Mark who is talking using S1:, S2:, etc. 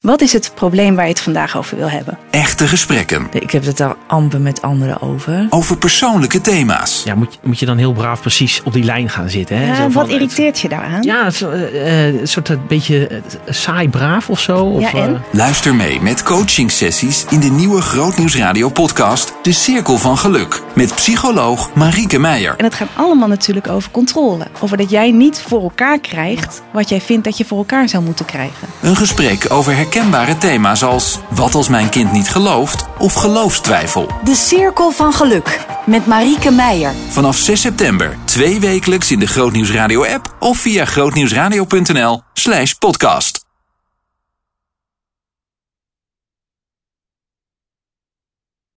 S1: Wat is het probleem waar je het vandaag over wil hebben?
S2: Echte gesprekken
S3: Ik heb het daar amper met anderen over.
S2: over persoonlijke thema's.
S4: Ja, moet, je- moet je dan heel braaf precies op die lijn gaan zitten. Hè?
S1: Ja,
S4: Zo
S1: Eh, wat
S4: van,
S1: irriteert je daaraan?
S4: Ja, het is, eh, eh, een soort een beetje eh, saai braaf of zo. Of,
S1: Ja, en?
S4: eh,
S2: Luister mee met coachingsessies in de nieuwe Grootnieuwsradio podcast De Cirkel van Geluk met psycholoog Marieke Meijer.
S1: En het gaat allemaal natuurlijk over controle. Over dat jij niet voor elkaar krijgt wat jij vindt dat je voor elkaar zou moeten krijgen.
S2: Een gesprek over herkenbare thema's als wat als mijn kind niet gelooft of geloofstwijfel.
S5: De Cirkel van Geluk met Marieke Meijer.
S2: Vanaf 6 september, twee wekelijks in de Grootnieuwsradio app of via grootnieuwsradio.nl slash podcast.